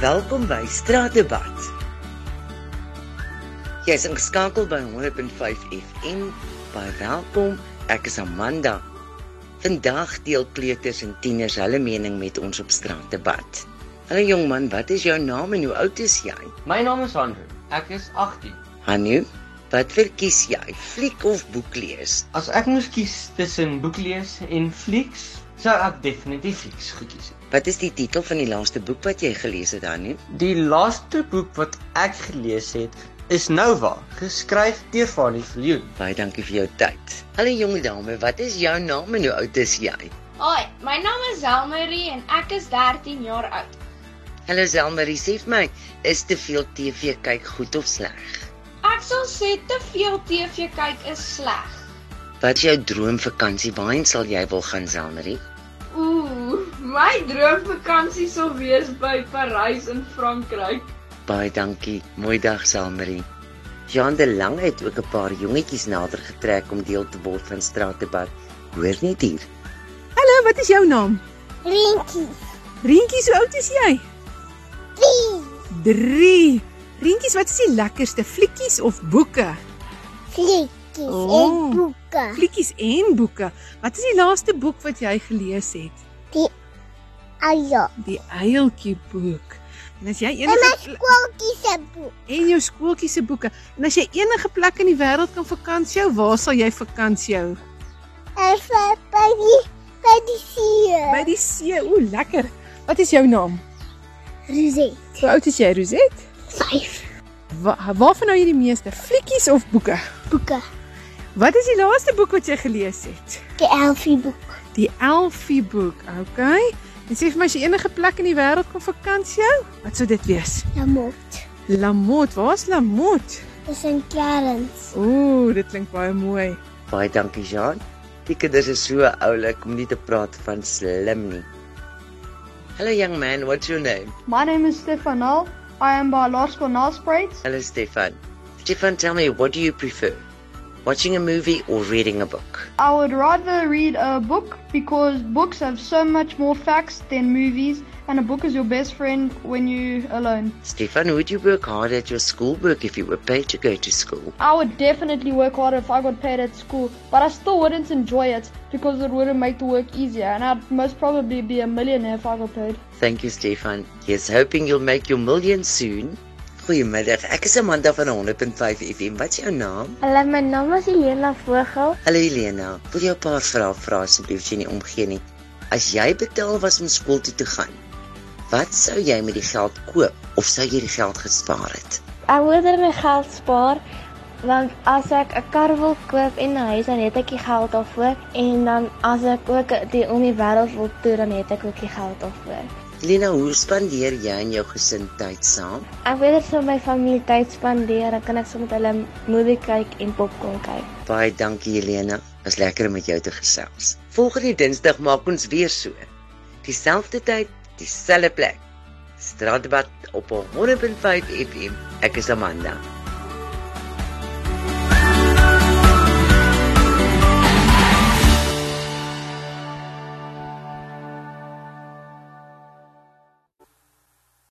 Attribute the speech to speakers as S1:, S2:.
S1: Welkom by Straatdebat. Jy's ingeskakel by 105 FM. Baie welkom. Ek is Amanda. Vandag deel kleuters en tieners hulle mening met ons op Straatdebat. Hallo jong man, wat is jou naam en hoe oud is jy?
S2: My naam is Andrew. Ek is 18.
S1: Hanu, wat verkies jy? Fliek of boek lees?
S2: As ek moes kies tussen boek lees en flieks, sou ek definitief flieks gekies het.
S1: Wat is die titel van die laaste boek wat jy gelees het, Hanu?
S2: Die laaste boek wat ek gelees het, is Nova, geskryf deur Fanny Viljoen.
S1: Baie dankie vir jou tyd. Hallo jong dame, wat is jou naam en hoe oud is jy?
S3: Hoi, my naam is Zelmarie en ek is 13 jaar oud.
S1: Hallo Selmarie, sê vir my, is te veel TV kyk goed of sleg?
S3: Ek sal sê te veel TV kyk is sleg.
S1: Wat is jou droomvakansie? Waarheen sal jy wil gaan, Selmarie?
S3: Ooh, my droomvakansie sal wees by Parys in Frankryk.
S1: Baie dankie. Mooi dag, Selmarie. Jean de Lang het ook 'n paar jongetjies nader getrek om deel te word van straatdebat. Hoor net hier.
S4: Hallo, Nou, wat is jou naam?
S5: Rientjie,
S4: Rientjie, hoe oud is jy?
S5: pie,
S4: 3. Rientjies, wat is die lekkerste fliekkies of boeke?
S5: fliekkies en
S4: Oh.
S5: boeke.
S4: Fliekkies en boeke. Wat is die laaste boek wat jy gelees het?
S5: Ajo,
S4: Die Uiltjie boek. En as jy
S5: en my
S4: enige pl-
S5: skooltjie se boek.
S4: en jou skooltjie se boeke, en as jy enige plek in die wêreld kan vakansie hou, waar sal jy vakansie hou?
S5: En vir by die, by die
S4: By
S5: see.
S4: die see. Ooh, lekker. Wat is jou naam?
S5: Ruzie,
S4: Hoe oud is jy, Rosette?
S5: vyf
S4: Wa waarvan hou jy die meeste? Fliekkies of boeke?
S5: boeke.
S4: Wat is die laaste boek wat jy gelees het?
S5: Die elfie boek.
S4: Die Elfie boek, okay? En sê vir my as jy enige plek in die wêreld kon vakansie hou, wat sou dit wees?
S5: Lamot.
S4: Lamot, waar's Lamot?
S5: Dis in Clarence.
S4: Ooh, dit klink baie mooi.
S1: Baie dankie, Jean. Die kinders is so oulik om nie te praat van slim nie. Hello young man, what's your name?
S6: My name is Stefanel. I am biological nurse braids.
S1: Hello Stefan. Stefan, tell me, what do you prefer? Watching a movie or reading a book?
S6: I would rather read a book because books have so much more facts than movies, and a book is your best friend when you're alone.
S1: Stefan, would you work hard at your schoolwork if you were paid to go to school?
S6: I would definitely work harder if I got paid at school, but I still wouldn't enjoy it because it wouldn't make the work easier, and I'd most probably be a millionaire if I got paid.
S1: Thank you Stefan. Yes, hoping you'll make your million soon. Goeiemiddag. Ek is Amanda van 100.5 FM. Wat is jou naam?
S5: Hallo, my naam is Elena Vogel.
S1: Hallo Elena. Wil jou 'n paar vrae vra asseblief as jy nie omgee nie. As jy betaal was om skool toe te gaan, wat sou jy met die geld koop of sou jy die geld gespaar het?
S5: Ek moet er my geld spaar want as ek 'n kar wil koop en 'n huis dan het ek die geld daarvoor en dan as ek ook die om die wêreld wil toer dan het ek ook die geld daarvoor.
S1: Elena, hoe spandeer jy en jou gesin tyd saam?
S5: Ek weet as ek my familie tyd spandeer, dan kan ek saam met hulle movie kyk en popcorn kyk.
S1: Baie dankie Elena. Was lekker om met jou te gesels. Volgende Dinsdag maak ons weer so. Dieselfde tyd, dieselfde plek. Straatdebat op 100.5 FM. Ek is Amanda.